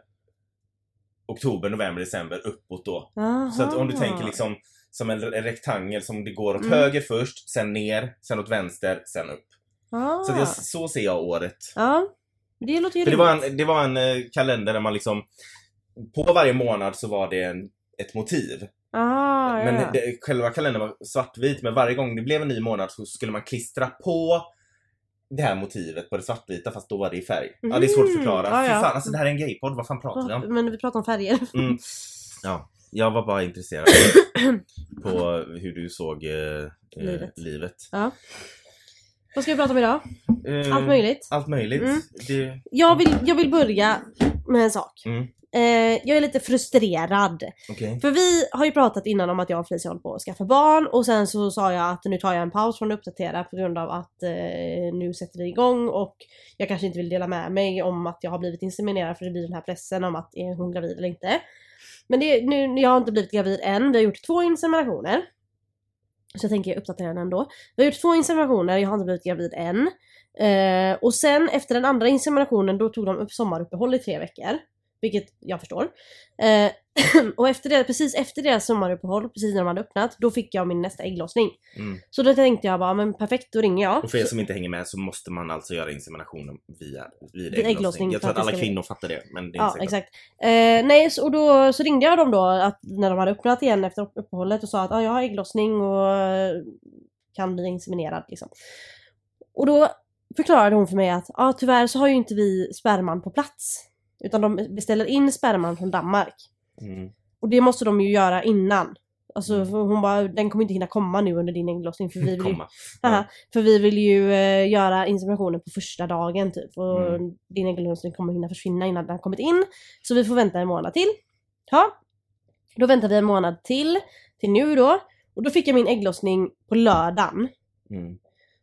Speaker 2: oktober, november, december uppåt då.
Speaker 1: Aha.
Speaker 2: Så att om du tänker liksom som en, en rektangel som det går åt
Speaker 1: Mm.
Speaker 2: höger först, sen ner, sen åt vänster, sen upp.
Speaker 1: Ah.
Speaker 2: Så, att jag, så ser jag året.
Speaker 1: Ja. Det låter ju
Speaker 2: För det, var
Speaker 1: rimligt.
Speaker 2: en, det var en eh, kalender där man liksom, på varje månad så var det en, ett motiv.
Speaker 1: Ah, ja,
Speaker 2: men
Speaker 1: ja.
Speaker 2: det, själva kalendern var svartvit, men varje gång det blev en ny månad så skulle man klistra på det här motivet på det svartvita fast då var det i färg. Ja det är svårt att förklara.
Speaker 1: Mm. Ja,
Speaker 2: Fy
Speaker 1: ja.
Speaker 2: fan alltså det här är en gaypodd, vad fan pratar vi om?
Speaker 1: Ah, Men vi pratar om färger.
Speaker 2: Mm. Ja, jag var bara intresserad på hur du såg eh, eh,
Speaker 1: Livet.
Speaker 2: livet.
Speaker 1: Ja. Vad ska vi prata om idag?
Speaker 2: Eh,
Speaker 1: Allt möjligt.
Speaker 2: Allt möjligt.
Speaker 1: Mm.
Speaker 2: Det,
Speaker 1: Jag vill, jag vill börja med en sak.
Speaker 2: Mm.
Speaker 1: Eh, jag är lite frustrerad.
Speaker 2: okej.
Speaker 1: För vi har ju pratat innan om att jag och Felicia håller på att skaffa barn och sen så sa jag att nu tar jag en paus från att uppdatera på grund av att eh, nu sätter vi igång och jag kanske inte vill dela med mig om att jag har blivit inseminerad för det blir den här pressen om att är hon gravid eller inte. Men det, nu, jag har inte blivit gravid än, vi har gjort två inseminationer. Så jag tänker uppdatera den ändå. Vi har gjort två inseminationer, jag har inte blivit gravid än. Eh, och sen efter den andra inseminationen då tog de upp sommaruppehåll i tre veckor. Vilket jag förstår. Eh, och efter det, precis efter deras sommaruppehåll, precis när de hade öppnat, då fick jag min nästa ägglossning.
Speaker 2: Mm.
Speaker 1: Så då tänkte jag bara, men perfekt då ringer jag.
Speaker 2: Och för er som inte hänger med så måste man alltså göra inseminationen via, vid
Speaker 1: ägglossning
Speaker 2: ägglossning. Jag
Speaker 1: för
Speaker 2: tror
Speaker 1: att
Speaker 2: att
Speaker 1: det
Speaker 2: alla
Speaker 1: ska bli-
Speaker 2: kvinnor fattar det. Men det är
Speaker 1: Ja,
Speaker 2: inte säkert.
Speaker 1: exakt. Eh, nej, så, och då så ringde jag dem då att, när de hade öppnat igen efter upp- uppehållet och sa att ah, jag har ägglossning och eh, kan bli inseminerad liksom. Och då förklarade hon för mig att ah, tyvärr så har ju inte vi sperman på plats. Utan de beställer in sperman från Danmark.
Speaker 2: Mm.
Speaker 1: Och det måste de ju göra innan. Alltså för hon bara, den kommer inte hinna komma nu under din ägglossning för vi vill ju
Speaker 2: Komma.
Speaker 1: Haha. För vi vill ju eh, göra inseminationen på första dagen typ. Och
Speaker 2: Mm.
Speaker 1: din ägglossning kommer hinna försvinna innan den har kommit in. Så vi får vänta en månad till. Ja. Då väntar vi en månad till. Till nu då. Och då fick jag min ägglossning på lördagen.
Speaker 2: Mm.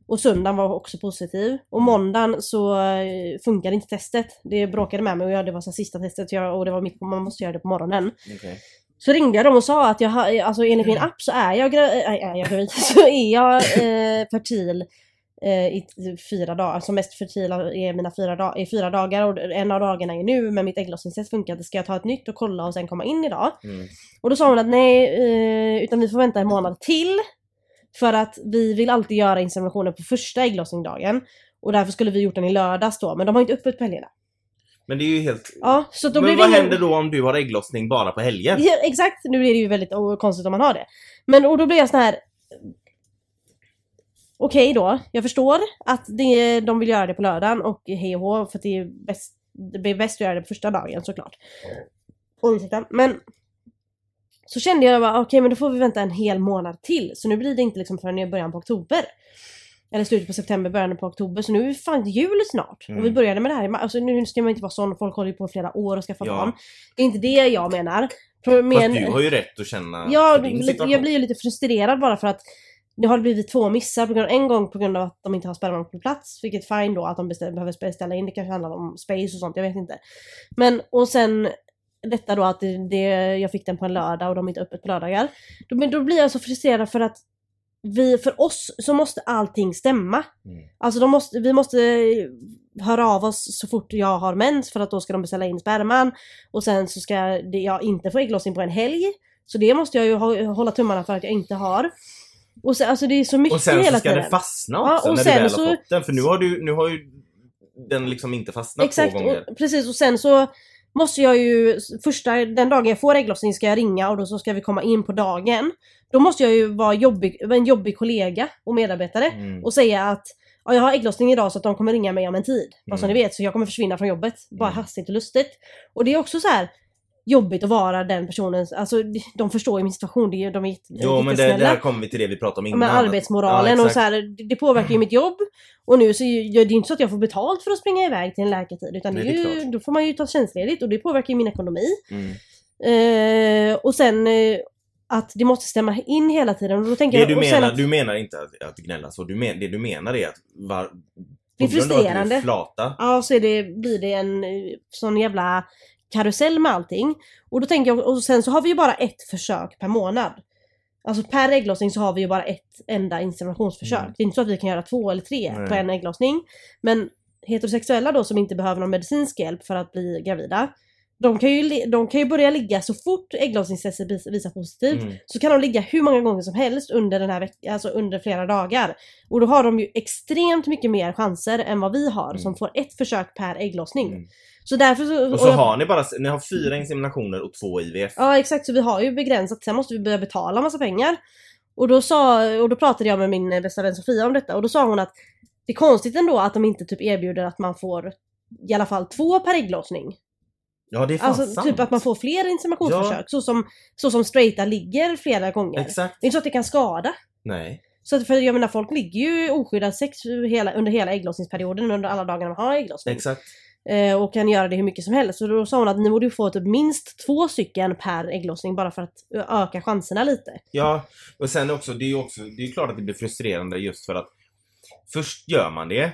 Speaker 1: Och söndagen var också positiv. Och måndagen så eh, funkade inte testet. Det bråkade med mig och jag, det var så här sista testet jag, och det var mitt på, man måste göra det på morgonen.
Speaker 2: Okej.
Speaker 1: Så ringde jag dem och sa att jag, har- alltså enligt min app så är jag, gra- äh, är jag gravid, så är jag eh, fertil eh, i t- fyra dagar. Alltså mest fertila är mina fyra, dag- är fyra dagar och en av dagarna är nu men mitt ägglossningstest funkar inte. Ska jag ta ett nytt och kolla och sen komma in idag?
Speaker 2: Mm.
Speaker 1: Och då sa hon att nej, eh, utan vi får vänta en månad till. För att vi vill alltid göra inseminationen på första ägglossningsdagen. Och därför skulle vi gjort den i lördags då, men de har inte öppet på helgerna.
Speaker 2: Men det är ju helt...
Speaker 1: Ja, så då
Speaker 2: men
Speaker 1: blev
Speaker 2: vad
Speaker 1: det ingen-
Speaker 2: händer då om du har ägglossning bara på helger?
Speaker 1: Ja, exakt, nu är det ju väldigt o- konstigt om man har det. Men och då blir jag sån här... Okej då, jag förstår att det, de vill göra det på lördagen och hej och hå för att det är bäst, det blir bäst att göra det på första dagen såklart. Oj, ursäkta. Men så kände jag bara okej men då får vi vänta en hel månad till så nu blir det inte liksom förrän i början på oktober. Eller slutet på september, början på oktober. Så nu är ju fan jul snart.
Speaker 2: Mm.
Speaker 1: Och vi började med det här i maj. Alltså nu ska man inte vara sån, folk håller ju på i flera år och skaffa
Speaker 2: Ja.
Speaker 1: barn. Det är inte det jag menar. Men,
Speaker 2: Fast du har ju rätt att känna
Speaker 1: ja,
Speaker 2: för din
Speaker 1: lite-
Speaker 2: situation.
Speaker 1: jag blir ju lite frustrerad bara för att det har blivit två missar. På grund, en gång på grund av att de inte har sperman på plats, vilket fine då att de beställ, behöver ställa in. Det kanske handlar om space och sånt, jag vet inte. Men och sen detta då att det, det, jag fick den på en lördag och de är inte öppet på lördagar. Då, men då blir jag så frustrerad för att vi, för oss så måste allting stämma.
Speaker 2: Mm.
Speaker 1: Alltså de måste, vi måste eh, höra av oss så fort jag har mens för att då ska de beställa in sperman. Och sen så ska det, jag inte få ägglossning på en helg. Så det måste jag ju hå- hålla tummarna för att jag inte har. Och sen, alltså det är så mycket
Speaker 2: Och sen så
Speaker 1: hela
Speaker 2: ska
Speaker 1: tiden.
Speaker 2: det fastna
Speaker 1: Ja,
Speaker 2: också
Speaker 1: och
Speaker 2: när
Speaker 1: sen
Speaker 2: du väl
Speaker 1: så-
Speaker 2: har fått den. För nu har, du, nu har ju den liksom inte fastnat
Speaker 1: Exakt,
Speaker 2: två gånger.
Speaker 1: och, precis. Och sen så måste jag ju, första, den dagen jag får ägglossning ska jag ringa och då så ska vi komma in på dagen. Då måste jag ju vara jobbig, en jobbig kollega och medarbetare
Speaker 2: Mm.
Speaker 1: och säga att ja, jag har ägglossning idag så att de kommer ringa mig om en tid. Bara så ni
Speaker 2: Mm.
Speaker 1: vet, så jag kommer försvinna från jobbet. Bara
Speaker 2: Mm.
Speaker 1: hastigt och lustigt. Och det är också så här jobbigt att vara den personen. Alltså de förstår ju min situation, det är, ju- de är jätte-
Speaker 2: Jo men det,
Speaker 1: jättesnälla.
Speaker 2: där kommer vi till det vi pratade om innan.
Speaker 1: med
Speaker 2: Ja,
Speaker 1: arbetsmoralen
Speaker 2: exakt.
Speaker 1: och så här, det- det påverkar ju mitt jobb. Och nu så är ju- det är ju inte så att jag får betalt för att springa iväg till en läkartid utan
Speaker 2: Nej,
Speaker 1: det är
Speaker 2: det är
Speaker 1: ju,
Speaker 2: klart.
Speaker 1: då får man ju ta tjänstledigt och det påverkar ju min ekonomi.
Speaker 2: Mm.
Speaker 1: Eh, och sen eh, att det måste stämma in hela tiden. Och då tänker
Speaker 2: Det
Speaker 1: jag,
Speaker 2: du
Speaker 1: och sen
Speaker 2: menar,
Speaker 1: att,
Speaker 2: du menar inte att, att gnälla så. Du men, det du menar är att var,
Speaker 1: Det är
Speaker 2: på grund av att du
Speaker 1: frustrerande.
Speaker 2: flata.
Speaker 1: Ja, så är det, blir det en eh, sån jävla karusell med allting. Och då tänker jag, och sen så har vi ju bara ett försök per månad. Alltså per ägglossning så har vi ju bara ett enda inseminationsförsök.
Speaker 2: Mm.
Speaker 1: Det är inte så att vi kan göra två eller tre
Speaker 2: Nej.
Speaker 1: på en ägglossning. Men heterosexuella då som inte behöver någon medicinsk hjälp för att bli gravida. De kan ju, li- de kan ju börja ligga så fort ägglossningstestet vis- visar positivt.
Speaker 2: Mm.
Speaker 1: Så kan de ligga hur många gånger som helst under, den här veck- alltså under flera dagar. Och då har de ju extremt mycket mer chanser än vad vi har
Speaker 2: Mm.
Speaker 1: som får ett försök per ägglossning.
Speaker 2: Mm.
Speaker 1: Så därför så...
Speaker 2: Och så
Speaker 1: jag-
Speaker 2: har ni bara, ni har fyra inseminationer och två IVF.
Speaker 1: Ja exakt, så vi har ju begränsat. Sen måste vi börja betala massa pengar. Och då, sa, och då pratade jag med min eh, bästa vän Sofia om detta och då sa hon att det är konstigt ändå att de inte typ erbjuder att man får i alla fall två per ägglossning.
Speaker 2: Ja det är fan
Speaker 1: Alltså
Speaker 2: sant.
Speaker 1: typ att man får fler inseminationsförsök så, som, så som straighta ligger flera gånger.
Speaker 2: Exakt.
Speaker 1: Det är inte så att det kan skada.
Speaker 2: Nej.
Speaker 1: Så att, för jag menar folk ligger ju oskyddat sex ur hela, under hela ägglossningsperioden, under alla dagar man har ägglossning.
Speaker 2: Exakt.
Speaker 1: Eh, och kan göra det hur mycket som helst. Så då sa hon att ni borde ju få typ minst två stycken per ägglossning bara för att öka chanserna lite.
Speaker 2: Ja, och sen också, det är ju också, det är ju klart att det blir frustrerande just för att först gör man det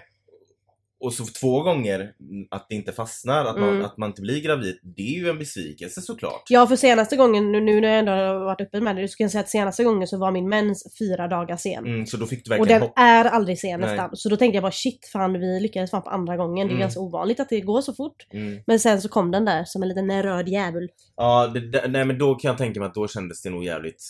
Speaker 2: och så två gånger mm, att det inte fastnar, att man,
Speaker 1: Mm.
Speaker 2: att man inte blir gravid, det är ju en besvikelse såklart.
Speaker 1: Ja för senaste gången, nu, nu när jag ändå har varit uppe med det, så kan jag säga att senaste gången så var min mens fyra dagar sen.
Speaker 2: Mm, så då fick du
Speaker 1: Och
Speaker 2: verkligen
Speaker 1: den
Speaker 2: hoppa.
Speaker 1: är aldrig sen
Speaker 2: Nej.
Speaker 1: nästan. Så då tänkte jag bara shit fan vi lyckades fan på andra gången. Det är
Speaker 2: Mm.
Speaker 1: ganska ovanligt att det går så fort.
Speaker 2: Mm.
Speaker 1: Men sen så kom den där som en liten röd djävul.
Speaker 2: Ja, det, där- nej men då kan jag tänka mig att då kändes det nog jävligt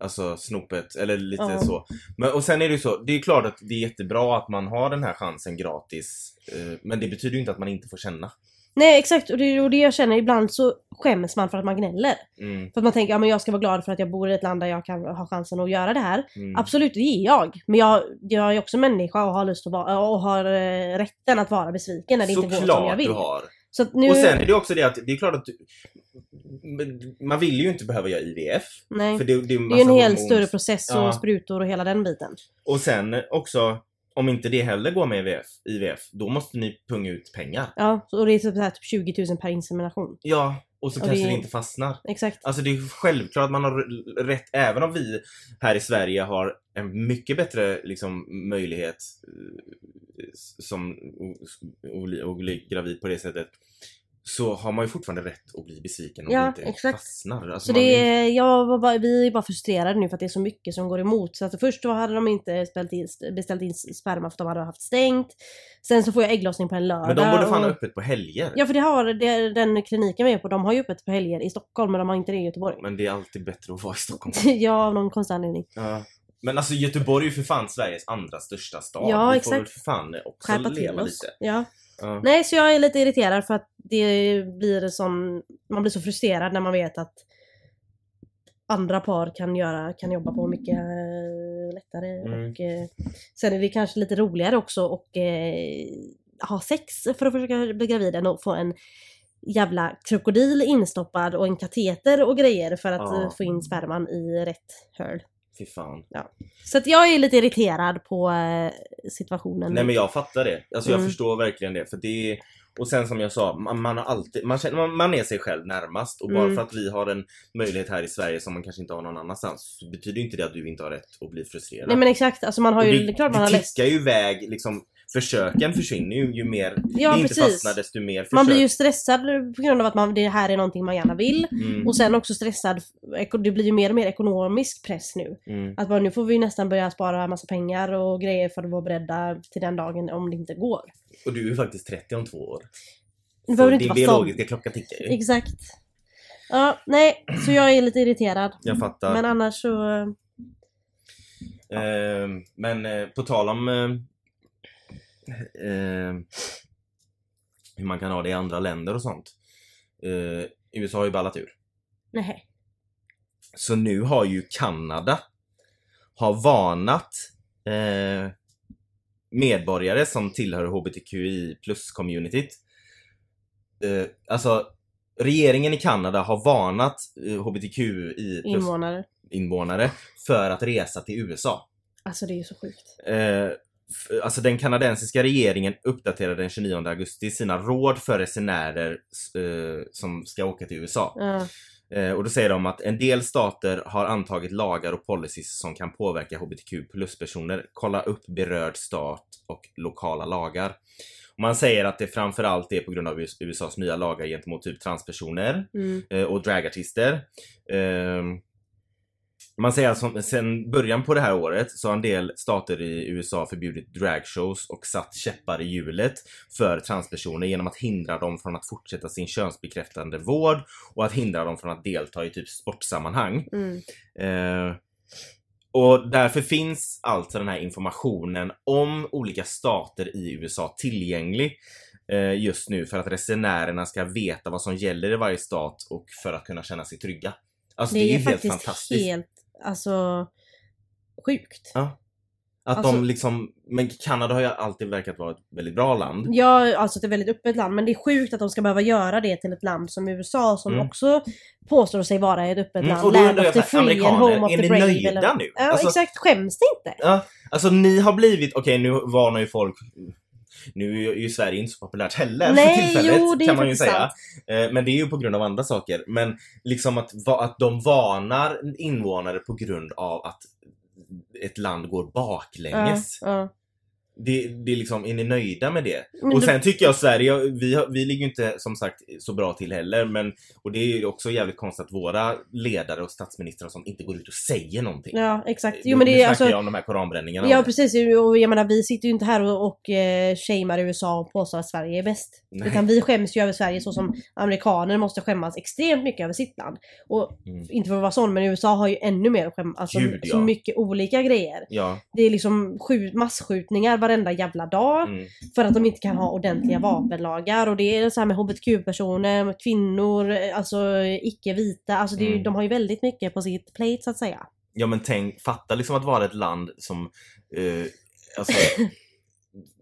Speaker 2: Alltså snopet, eller lite
Speaker 1: Ja.
Speaker 2: så. Men, och sen är det ju så, det är klart att det är jättebra att man har den här chansen gratis. eh, Men det betyder ju inte att man inte får känna.
Speaker 1: Nej exakt, och det är ju det jag känner. Ibland så skäms man för att man gnäller.
Speaker 2: Mm,
Speaker 1: För att man tänker, ja men jag ska vara glad för att jag bor i ett land där jag kan ha chansen att göra det här.
Speaker 2: mm.
Speaker 1: Absolut, det är jag. Men jag, jag är också människa och har lust att vara, och har eh, rätten att vara besviken när det inte går som jag
Speaker 2: Såklart
Speaker 1: vill.
Speaker 2: du har.
Speaker 1: Så att nu...
Speaker 2: Och sen är det också det att det är klart att du, men man vill ju inte behöva göra IVF.
Speaker 1: nej.
Speaker 2: För det, det är,
Speaker 1: Det är ju en hel
Speaker 2: hormons-
Speaker 1: större process och
Speaker 2: Ja.
Speaker 1: sprutor och hela den biten.
Speaker 2: Och sen också, om inte det heller går med IVF, IVF då måste ni punga ut pengar.
Speaker 1: Ja, och det är typ, så här, typ 20 000 per insemination.
Speaker 2: Ja, och så
Speaker 1: Och
Speaker 2: kanske
Speaker 1: det-
Speaker 2: det inte fastnar.
Speaker 1: Exakt.
Speaker 2: Alltså det är självklart att man har r- rätt, även om vi här i Sverige har en mycket bättre liksom, möjlighet eh, s- som att bli- att bli gravid på det sättet. Så har man ju fortfarande rätt att bli besviken om
Speaker 1: Ja,
Speaker 2: det inte
Speaker 1: exakt.
Speaker 2: fastnar. Alltså
Speaker 1: Så
Speaker 2: man
Speaker 1: det
Speaker 2: är-
Speaker 1: är, jag var bara, vi är bara frustrerade nu för att det är så mycket som går emot. Så att först då hade de inte ställt in, beställt in sperma för att de hade haft stängt. Sen så får jag ägglossning på en lördag.
Speaker 2: Men de borde fan
Speaker 1: och-
Speaker 2: ha öppet på helger.
Speaker 1: Ja för det har det, den kliniken vi är på, de har ju öppet på helger i Stockholm men de har inte det i Göteborg.
Speaker 2: Men det är alltid bättre att vara i Stockholm.
Speaker 1: ja av någon konstig anledning.
Speaker 2: Ja. Men alltså Göteborg är ju för fan Sveriges andra största stad.
Speaker 1: Ja,
Speaker 2: Vi
Speaker 1: exakt.
Speaker 2: får väl för fan också
Speaker 1: Skärpa till
Speaker 2: leva
Speaker 1: oss.
Speaker 2: lite.
Speaker 1: Ja.
Speaker 2: Ja.
Speaker 1: Nej så jag är lite irriterad för att det blir en sån, man blir så frustrerad när man vet att andra par kan, göra, kan jobba på mycket eh, lättare.
Speaker 2: Mm.
Speaker 1: Och, eh, sen är det kanske lite roligare också och eh, ha sex för att försöka bli gravid än att få en jävla krokodil instoppad och en kateter och grejer för att
Speaker 2: Ja.
Speaker 1: eh, få in sperman i rätt hörl.
Speaker 2: Fy fan.
Speaker 1: Så att jag är lite irriterad på eh, situationen.
Speaker 2: Nej men jag fattar det. Alltså jag
Speaker 1: Mm.
Speaker 2: förstår verkligen det. För det är... Och sen som jag sa, man, man har alltid, man, känner, man, man är sig själv närmast och bara
Speaker 1: Mm.
Speaker 2: för att vi har en möjlighet här i Sverige som man kanske inte har någon annanstans så betyder ju inte det att du inte har rätt att bli frustrerad.
Speaker 1: Nej men exakt, alltså man har ju,
Speaker 2: Och
Speaker 1: det, är klart man har
Speaker 2: det
Speaker 1: läst.
Speaker 2: tickar ju iväg liksom, försöken försvinner ju ju mer,
Speaker 1: Ja,
Speaker 2: det inte
Speaker 1: precis.
Speaker 2: fastnar desto mer försök.
Speaker 1: Man blir ju stressad på grund av att man, det här är någonting man gärna vill.
Speaker 2: mm,
Speaker 1: Och sen också stressad, eko- det blir ju mer och mer ekonomisk press nu.
Speaker 2: mm,
Speaker 1: Att bara, nu får vi nästan börja spara massa pengar och grejer för att vara beredda till den dagen om det inte går.
Speaker 2: och du är ju faktiskt 30 om två år.
Speaker 1: Det behöver
Speaker 2: Så
Speaker 1: inte
Speaker 2: din
Speaker 1: vara sånt.
Speaker 2: biologiska klocka tickar ju.
Speaker 1: Exakt. Ja, nej, så jag är lite irriterad.
Speaker 2: Jag fattar.
Speaker 1: Men annars så... eh,
Speaker 2: Eh, men eh, på tal om eh, eh, hur man kan ha det i andra länder och sånt. Eh, USA har ju ballat ur.
Speaker 1: Nej.
Speaker 2: Så nu har ju Kanada har varnat eh, medborgare som tillhör HBTQI plus communityt. Eh, alltså regeringen i Kanada har varnat eh, HBTQI plus
Speaker 1: Invånare.
Speaker 2: invånare för att resa till USA.
Speaker 1: Alltså det är ju så sjukt.
Speaker 2: Eh, f- alltså den kanadensiska regeringen uppdaterade den 29 augusti sina råd för resenärer s- eh, som ska åka till USA.
Speaker 1: Ja.
Speaker 2: Eh, och då säger de att en del stater har antagit lagar och policies som kan påverka hbtq plus-personer. Kolla upp berörd stat och lokala lagar. Och man säger att det framförallt är på grund av US- USAs nya lagar gentemot typ transpersoner
Speaker 1: Mm.
Speaker 2: eh, och dragartister. Ehm, man säger alltså, sen början på det här året så har en del stater i USA förbjudit dragshows och satt käppar i hjulet för transpersoner genom att hindra dem från att fortsätta sin könsbekräftande vård och att hindra dem från att delta i typ sportsammanhang.
Speaker 1: Mm.
Speaker 2: Eh, och därför finns alltså den här informationen om olika stater i USA tillgänglig eh, just nu för att resenärerna ska veta vad som gäller i varje stat och för att kunna känna sig trygga. Alltså det, är ju helt
Speaker 1: faktiskt
Speaker 2: fantastiskt.
Speaker 1: helt, alltså, sjukt.
Speaker 2: Att
Speaker 1: alltså-
Speaker 2: de liksom, men Kanada har ju alltid verkat vara ett väldigt bra land.
Speaker 1: Ja, alltså det är ett väldigt öppet land, men det är sjukt att de ska behöva göra det till ett land som USA som
Speaker 2: Mm.
Speaker 1: också påstår sig vara ett öppet
Speaker 2: Mm,
Speaker 1: land.
Speaker 2: och då
Speaker 1: land
Speaker 2: undrar
Speaker 1: of
Speaker 2: jag
Speaker 1: the
Speaker 2: så här,
Speaker 1: free and
Speaker 2: amerikaner,
Speaker 1: home of
Speaker 2: är
Speaker 1: the
Speaker 2: ni
Speaker 1: brave.
Speaker 2: nöjda
Speaker 1: eller...
Speaker 2: nu?
Speaker 1: Ja,
Speaker 2: Alltså-
Speaker 1: exakt. Skäms det inte?
Speaker 2: Alltså ni har blivit, okej nu varnar ju folk nu är ju Sverige inte så populärt heller
Speaker 1: Nej,
Speaker 2: för tillfället
Speaker 1: jo, det är
Speaker 2: kan man ju
Speaker 1: faktiskt
Speaker 2: säga. Eh, Men det är ju på grund av andra saker. Men liksom att, va- att de varnar invånare på grund av att ett land går baklänges.
Speaker 1: Ja, ja.
Speaker 2: Det, det är liksom, är ni nöjda med det?
Speaker 1: Men
Speaker 2: och
Speaker 1: då-
Speaker 2: sen tycker jag Sverige, vi, har- vi ligger ju inte som sagt så bra till heller men och det är ju också jävligt konstigt att våra ledare och statsministrar och sånt inte går ut och säger någonting.
Speaker 1: Ja, exakt. Jo
Speaker 2: Nu- nu
Speaker 1: men det är
Speaker 2: snackar
Speaker 1: alltså...
Speaker 2: jag om de här koranbränningarna.
Speaker 1: Ja precis, och jag menar vi sitter ju inte här och, och eh, shamear USA och påstår att Sverige är bäst.
Speaker 2: Nej.
Speaker 1: Utan vi skäms ju över Sverige så som amerikaner måste skämmas extremt mycket över sitt land. Och
Speaker 2: Mm.
Speaker 1: inte för att vara sån, men USA har ju ännu mer att skämmas, alltså
Speaker 2: Gud, ja.
Speaker 1: så mycket olika grejer.
Speaker 2: Ja.
Speaker 1: Det är liksom skjut, massskjutningar varenda jävla dag
Speaker 2: Mm.
Speaker 1: för att de inte kan ha ordentliga vapenlagar och det är så här med hbtq-personer, med kvinnor, eh, alltså icke-vita, alltså det är ju,
Speaker 2: Mm.
Speaker 1: de har ju väldigt mycket på sitt plate så att säga.
Speaker 2: Ja men tänk, fatta liksom att vara ett land som eh, alltså,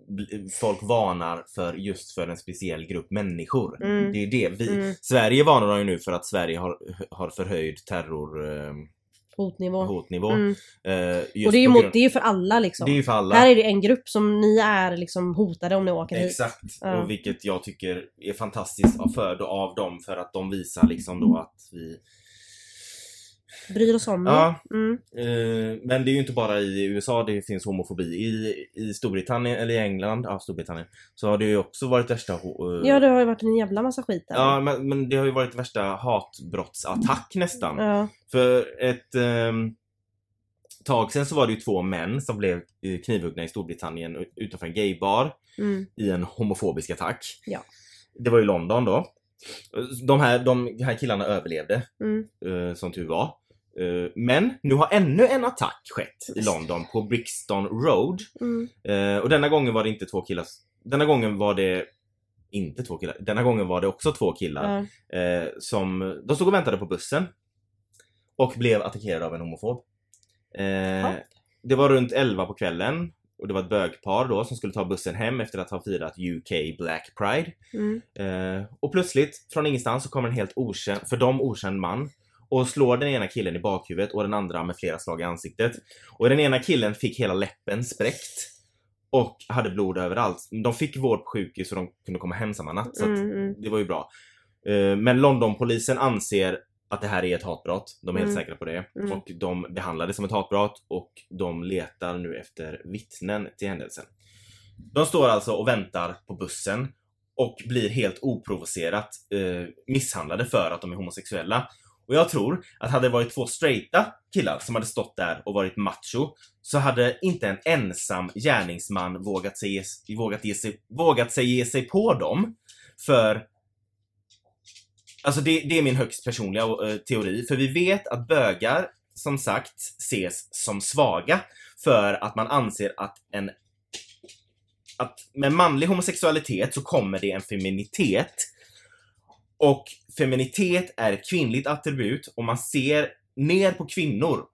Speaker 2: bl- folk varnar för just för en speciell grupp människor.
Speaker 1: Mm.
Speaker 2: Det är det. Vi,
Speaker 1: Mm.
Speaker 2: Sverige varnar de ju nu för att Sverige har, har förhöjd terrorhotnivå.
Speaker 1: Hotnivå.
Speaker 2: Eh, hotnivå.
Speaker 1: Mm.
Speaker 2: Eh, just
Speaker 1: Och det är ju
Speaker 2: på
Speaker 1: mot,
Speaker 2: grund-
Speaker 1: det är ju för alla liksom.
Speaker 2: det är ju för alla.
Speaker 1: Här är det en grupp som ni är liksom hotade om ni åker hit.
Speaker 2: Exakt.
Speaker 1: Ja.
Speaker 2: Och vilket jag tycker är fantastiskt av, för, av dem för att de visar liksom då att vi
Speaker 1: Bryr oss om
Speaker 2: Ja.
Speaker 1: er. Mm.
Speaker 2: Eh, men det är ju inte bara i USA det finns homofobi. I, i Storbritannien, eller i England, ja Storbritannien, så har det ju också varit värsta... ho- eh,
Speaker 1: Ja, det har ju varit en jävla massa skit där.
Speaker 2: ja men, men det har ju varit värsta hatbrottsattack nästan.
Speaker 1: Ja.
Speaker 2: För ett ehm, tag sen så var det ju två män som blev eh, knivhuggna i Storbritannien utanför en gaybar
Speaker 1: Mm.
Speaker 2: i en homofobisk attack.
Speaker 1: Ja.
Speaker 2: Det var i London då. De här, de här killarna överlevde
Speaker 1: Mm.
Speaker 2: eh, som tur var. Eh, men nu har ännu en attack skett i London på Brixton Road.
Speaker 1: Mm.
Speaker 2: Eh, och denna gången var det inte två killar. Denna gången var det inte två killar. Denna gången var det också två killar.
Speaker 1: Ja.
Speaker 2: Eh, som, de stod och väntade på bussen. Och blev attackerade av en homofob. Eh,
Speaker 1: Ja.
Speaker 2: det var runt 11 på kvällen. Och det var ett bögpar då som skulle ta bussen hem efter att ha firat UK Black Pride.
Speaker 1: Mm.
Speaker 2: Eh, och plötsligt, från ingenstans, så kommer en helt okänd, för dem okänd man och slår den ena killen i bakhuvudet och den andra med flera slag i ansiktet. Och den ena killen fick hela läppen spräckt och hade blod överallt. De fick vård på sjukhus och de kunde komma hem samma natt. Så att
Speaker 1: Mm, mm.
Speaker 2: det var ju bra. Eh, Men Londonpolisen anser att det här är ett hatbrott. De är helt
Speaker 1: Mm.
Speaker 2: säkra på det.
Speaker 1: Mm.
Speaker 2: Och de behandlar det som ett hatbrott och de letar nu efter vittnen till händelsen. De står alltså och väntar på bussen och blir helt oprovocerat eh, misshandlade för att de är homosexuella. Och jag tror att hade det varit två straighta killar som hade stått där och varit macho så hade inte en ensam gärningsman vågat, sig, vågat, ge, sig, vågat sig ge sig på dem. För... Alltså det, det är min högst personliga eh, teori. För vi vet att bögar, som sagt, ses som svaga. För att man anser att en... Att med manlig homosexualitet så kommer det en feminitet. Och feminitet är ett kvinnligt attribut och man ser ner på kvinnor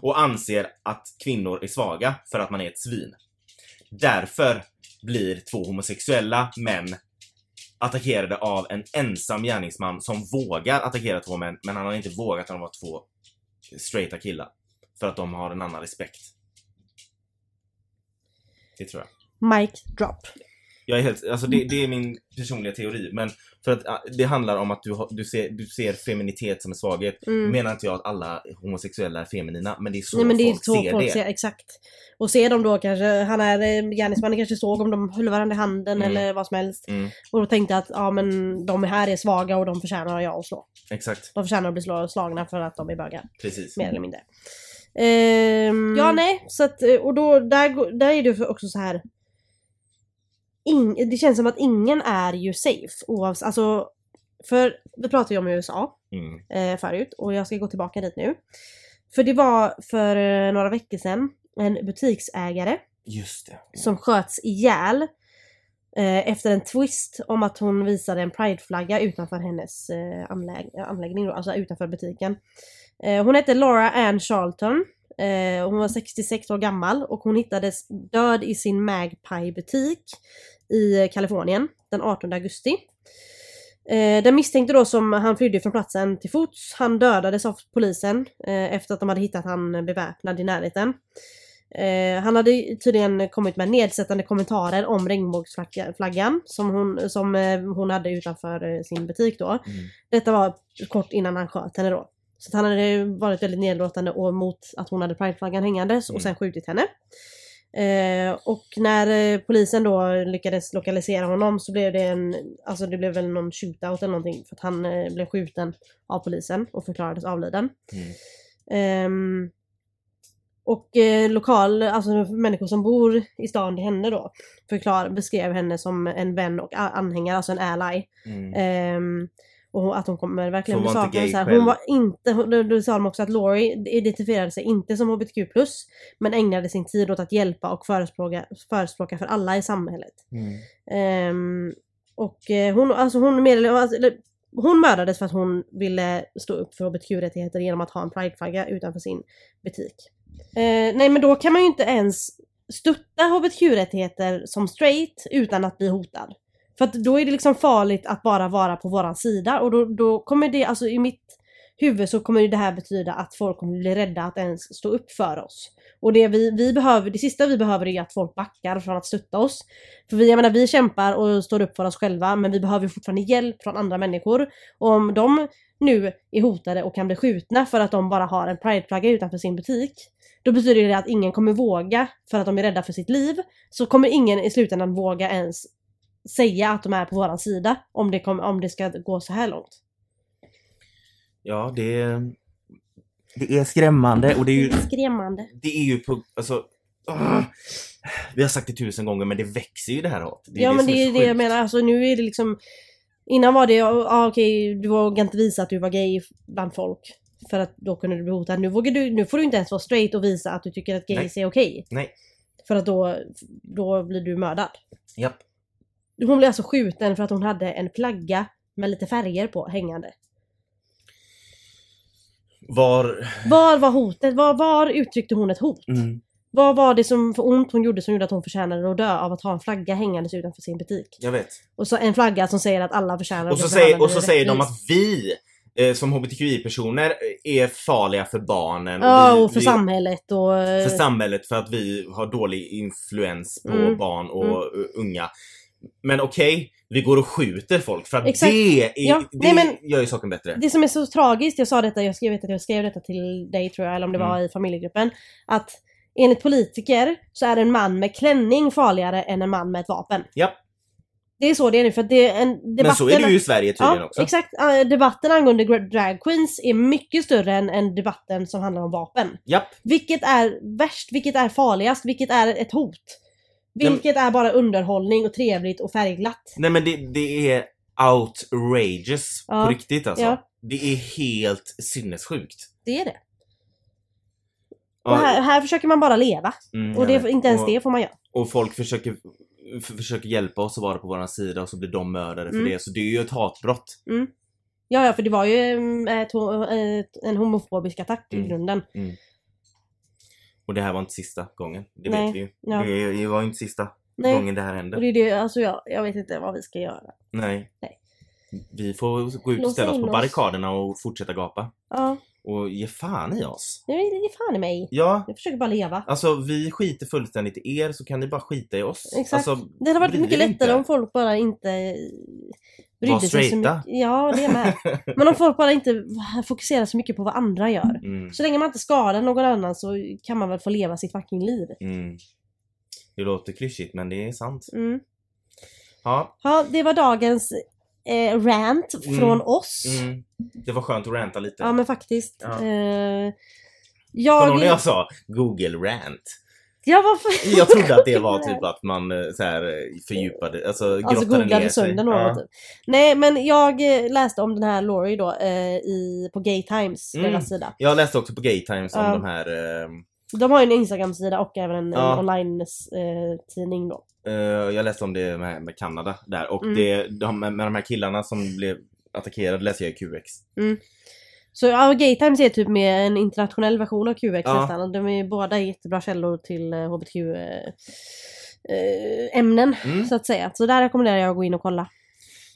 Speaker 2: och anser att kvinnor är svaga för att man är ett svin. Därför blir två homosexuella män attackerade av en ensam gärningsman som vågar attackera två män, men han har inte vågat när de var två straighta killar. För att de har en annan respekt. Det tror jag.
Speaker 1: Mic drop.
Speaker 2: Jag är helt, alltså det, det är min personliga teori, men för att ah, det handlar om att du, har- du, ser, du ser feminitet som en svaghet.
Speaker 1: Mm.
Speaker 2: Menar inte jag att alla homosexuella är feminina, men det är så
Speaker 1: Nej men det är
Speaker 2: folk
Speaker 1: så
Speaker 2: ser
Speaker 1: folk
Speaker 2: det.
Speaker 1: ser, exakt. Och ser de då kanske, han är, eh, gärningsmannen kanske såg om de höll varandra i handen
Speaker 2: Mm.
Speaker 1: eller vad som helst.
Speaker 2: Mm,
Speaker 1: Och då tänkte att ja men de här är svaga och de förtjänar jag att slå.
Speaker 2: exakt,
Speaker 1: De förtjänar att bli slå, slagna för att de är bögar.
Speaker 2: precis.
Speaker 1: Mer eller mindre. Ehm, ja nej, så att, eh, och då, där, går- där är det också så här. Ing, det känns som att ingen är ju safe. Oavs, alltså, för vi pratade ju om USA
Speaker 2: Mm,
Speaker 1: eh, förut och jag ska gå tillbaka dit nu. För det var för eh, några veckor sedan en butiksägare
Speaker 2: just det.
Speaker 1: som sköts ihjäl eh, efter en twist om att hon visade en prideflagga utanför hennes eh, anlägg- anläggning, då, alltså utanför butiken. Eh, hon hette Laura Ann Charlton. Eh, och hon var 66 år gammal och hon hittades död i sin Magpie-butik i eh, Kalifornien den 18 augusti. Eh, den misstänkte då som han flydde från platsen till fots, han dödades av polisen eh, efter att de hade hittat han beväpnad i närheten. Eh, han hade ju tydligen kommit med nedsättande kommentarer om regnbågsflaggan som hon, som, eh, hon hade utanför eh, sin butik då.
Speaker 2: Mm.
Speaker 1: Detta var kort innan han sköt henne då. Så att han hade varit väldigt nedlåtande och mot att hon hade prideflaggan hängandes
Speaker 2: Mm.
Speaker 1: och sen skjutit henne. Eh, och när eh, polisen då lyckades lokalisera honom så blev det en, alltså det blev väl någon shootout eller någonting för att han eh, blev skjuten av polisen och förklarades avliden.
Speaker 2: Mm.
Speaker 1: Ehm, och eh, lokal, alltså människor som bor i stan till henne då, förklar, beskrev henne som en vän och a- anhängare, alltså en ally.
Speaker 2: Mm.
Speaker 1: Ehm, och hon- att hon kommer verkligen
Speaker 2: Så
Speaker 1: bli
Speaker 2: hon var inte
Speaker 1: saknad.
Speaker 2: gay
Speaker 1: så här.
Speaker 2: själv?
Speaker 1: Hon var inte, hon- då, då sa de också att Laurie identifierade sig inte som hbtq+, men ägnade sin tid åt att hjälpa och förespråka, förespråka för alla i samhället.
Speaker 2: Mm.
Speaker 1: Ehm, och eh, hon, alltså hon, meddelade, alltså, eller, hon mördades för att hon ville stå upp för hbtq-rättigheter genom att ha en prideflagga utanför sin butik. Eh, nej men då kan man ju inte ens stötta hbtq-rättigheter som straight utan att bli hotad. För att då är det liksom farligt att bara vara på våran sida och då, då kommer det, alltså i mitt huvud så kommer ju det här betyda att folk kommer bli rädda att ens stå upp för oss. Och det vi, vi behöver, det sista vi behöver är att folk backar från att stötta oss. För vi, jag menar, vi kämpar och står upp för oss själva men vi behöver ju fortfarande hjälp från andra människor. Och om de nu är hotade och kan bli skjutna för att de bara har en prideflagga utanför sin butik. Då betyder det att ingen kommer våga för att de är rädda för sitt liv. Så kommer ingen i slutändan våga ens säga att de är på våran sida om det, kom, om det ska gå så här långt.
Speaker 2: Ja, det... Det är skrämmande och det är ju...
Speaker 1: Skrämmande.
Speaker 2: Det är ju på... Alltså... ah! vi har sagt det tusen gånger men det växer ju det här hatet.
Speaker 1: ja men det
Speaker 2: som
Speaker 1: är
Speaker 2: så
Speaker 1: det jag
Speaker 2: sjukt.
Speaker 1: menar, alltså nu är det liksom Innan var det, ja ah, okej du vågade inte visa att du var gay bland folk För att då kunde du bli hotad. Nu, vågar du, nu får du inte ens vara straight och visa att du tycker att gays är okej.
Speaker 2: Nej.
Speaker 1: För att då, då blir du mördad.
Speaker 2: Japp.
Speaker 1: Hon blev alltså skjuten för att hon hade en flagga med lite färger på hängande.
Speaker 2: Var...
Speaker 1: Var var hotet? Var, var uttryckte hon ett hot?
Speaker 2: Mm.
Speaker 1: Vad var det som för ont hon gjorde som gjorde att hon förtjänade att dö av att ha en flagga hängandes utanför sin butik?
Speaker 2: Jag vet.
Speaker 1: Och så en flagga som säger att alla förtjänar att
Speaker 2: Och så
Speaker 1: bli
Speaker 2: säger,
Speaker 1: behandlade
Speaker 2: och så säger de
Speaker 1: rättvist.
Speaker 2: att vi eh, som hbtqi-personer är farliga för barnen.
Speaker 1: Ja,
Speaker 2: vi-
Speaker 1: och för
Speaker 2: vi-
Speaker 1: samhället och... eh,
Speaker 2: för samhället för att vi har dålig influens på
Speaker 1: Mm.
Speaker 2: barn och eh, unga. Men okej, vi går och skjuter folk för att
Speaker 1: Exakt.
Speaker 2: det, är,
Speaker 1: Ja,
Speaker 2: det
Speaker 1: nej, men-
Speaker 2: gör ju saken bättre.
Speaker 1: Det som är så tragiskt, jag sa detta, jag skrev, vet att jag skrev detta till dig tror jag, eller om det var
Speaker 2: Mm.
Speaker 1: i familjegruppen. Att enligt politiker så är en man med klänning farligare än en man med ett vapen.
Speaker 2: Japp.
Speaker 1: Det är så det är nu, för att det är en debatten...
Speaker 2: Men så är det ju i Sverige tydligen
Speaker 1: Ja,
Speaker 2: också.
Speaker 1: exakt. Eh, Debatten angående gra- drag queens är mycket större än, än debatten som handlar om vapen.
Speaker 2: Japp.
Speaker 1: Vilket är värst? Vilket är farligast? Vilket är ett hot?
Speaker 2: men-
Speaker 1: Vilket är bara underhållning och trevligt och färgglatt?
Speaker 2: Nej men det, det är outrageous
Speaker 1: Ja,
Speaker 2: på riktigt alltså.
Speaker 1: ja.
Speaker 2: Det är helt sinnessjukt.
Speaker 1: Det är det.
Speaker 2: Ja,
Speaker 1: Och här, här försöker man bara leva.
Speaker 2: mm,
Speaker 1: Och
Speaker 2: jag
Speaker 1: det,
Speaker 2: vet.
Speaker 1: inte ens
Speaker 2: och,
Speaker 1: det får man göra.
Speaker 2: Och folk försöker, f- försöker hjälpa oss att vara på våran sida och så blir de mördade för
Speaker 1: Mm.
Speaker 2: det. Så det är ju ett hatbrott.
Speaker 1: Ja, ja, för det var ju mm, ett, ho- ett, en homofobisk attack i
Speaker 2: Mm.
Speaker 1: grunden.
Speaker 2: Och det här var inte sista gången. Det
Speaker 1: Nej,
Speaker 2: vet vi ju.
Speaker 1: ja.
Speaker 2: Det, det var ju inte sista
Speaker 1: Nej,
Speaker 2: gången det här hände.
Speaker 1: och det är det, alltså jag, jag vet inte vad vi ska göra.
Speaker 2: Nej.
Speaker 1: Nej.
Speaker 2: Vi får gå ut och
Speaker 1: Låsa
Speaker 2: ställa oss
Speaker 1: in
Speaker 2: på
Speaker 1: oss.
Speaker 2: barrikaderna och fortsätta gapa.
Speaker 1: Ja,
Speaker 2: Och ge fan i oss.
Speaker 1: nu är det fan i mig.
Speaker 2: Ja,
Speaker 1: Jag försöker bara leva.
Speaker 2: alltså vi skiter fullständigt i er så kan ni bara skita i oss.
Speaker 1: Exakt.
Speaker 2: Alltså,
Speaker 1: Det hade varit
Speaker 2: bryr
Speaker 1: mycket
Speaker 2: er
Speaker 1: lättare
Speaker 2: inte.
Speaker 1: om folk bara inte eh, brydde
Speaker 2: Var
Speaker 1: sig så
Speaker 2: straighta.
Speaker 1: mycket. Ja, det är med. Men om folk bara inte fokuserar så mycket på vad andra gör.
Speaker 2: Mm,
Speaker 1: Så länge man inte skadar någon annan så kan man väl få leva sitt fucking liv.
Speaker 2: mm. Det låter klyschigt men det är sant.
Speaker 1: Mm.
Speaker 2: Ja,
Speaker 1: Ja, det var dagens eh, rant
Speaker 2: Mm.
Speaker 1: från oss.
Speaker 2: mm. Det var skönt att ranta lite.
Speaker 1: Ja, men faktiskt.
Speaker 2: Ja.
Speaker 1: Eh,
Speaker 2: Kommer
Speaker 1: jag...
Speaker 2: du ihåg när jag sa Google rant?
Speaker 1: Ja, varför?
Speaker 2: Jag trodde att det var typ att man eh, så här, eh, fördjupade, alltså grottade
Speaker 1: Alltså
Speaker 2: ner
Speaker 1: googlade
Speaker 2: sig.
Speaker 1: sönder någon.
Speaker 2: Ja.
Speaker 1: Typ. Nej, men jag eh, läste om den här Laurie då eh, i, på Gay Times,
Speaker 2: Mm.
Speaker 1: deras sida.
Speaker 2: Jag läste också på Gay Times om
Speaker 1: Ja.
Speaker 2: de här eh,
Speaker 1: De har ju en Instagram-sida och även en, eh,
Speaker 2: Ja.
Speaker 1: en online-tidning då.
Speaker 2: Eh, jag läste om det med, med Kanada där och
Speaker 1: Mm.
Speaker 2: det, de, med de här killarna som blev attackerade läste jag i QX.
Speaker 1: Mm. Så ja, Gay Times är typ med en internationell version av QX
Speaker 2: Ja.
Speaker 1: nästan. Och De är ju båda jättebra källor till eh, HBTQ-ämnen
Speaker 2: Mm.
Speaker 1: så att säga. Så där rekommenderar jag att gå in och kolla.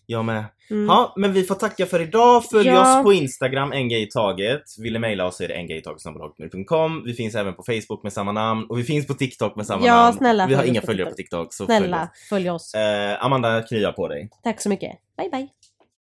Speaker 2: Jag med.
Speaker 1: Mm.
Speaker 2: Ja, men vi får tacka för idag. Följ
Speaker 1: Ja.
Speaker 2: oss på Instagram, en grej i taget. Vill ni mejla oss så är det engayitaget.com. Vi finns även på Facebook med samma namn och vi finns på TikTok med samma
Speaker 1: Ja,
Speaker 2: namn.
Speaker 1: snälla,
Speaker 2: vi har
Speaker 1: följ oss
Speaker 2: inga
Speaker 1: på
Speaker 2: följare på TikTok. Så följ
Speaker 1: Snälla,
Speaker 2: oss.
Speaker 1: följ oss.
Speaker 2: Eh, Amanda, krya på dig.
Speaker 1: Tack så mycket. Bye bye.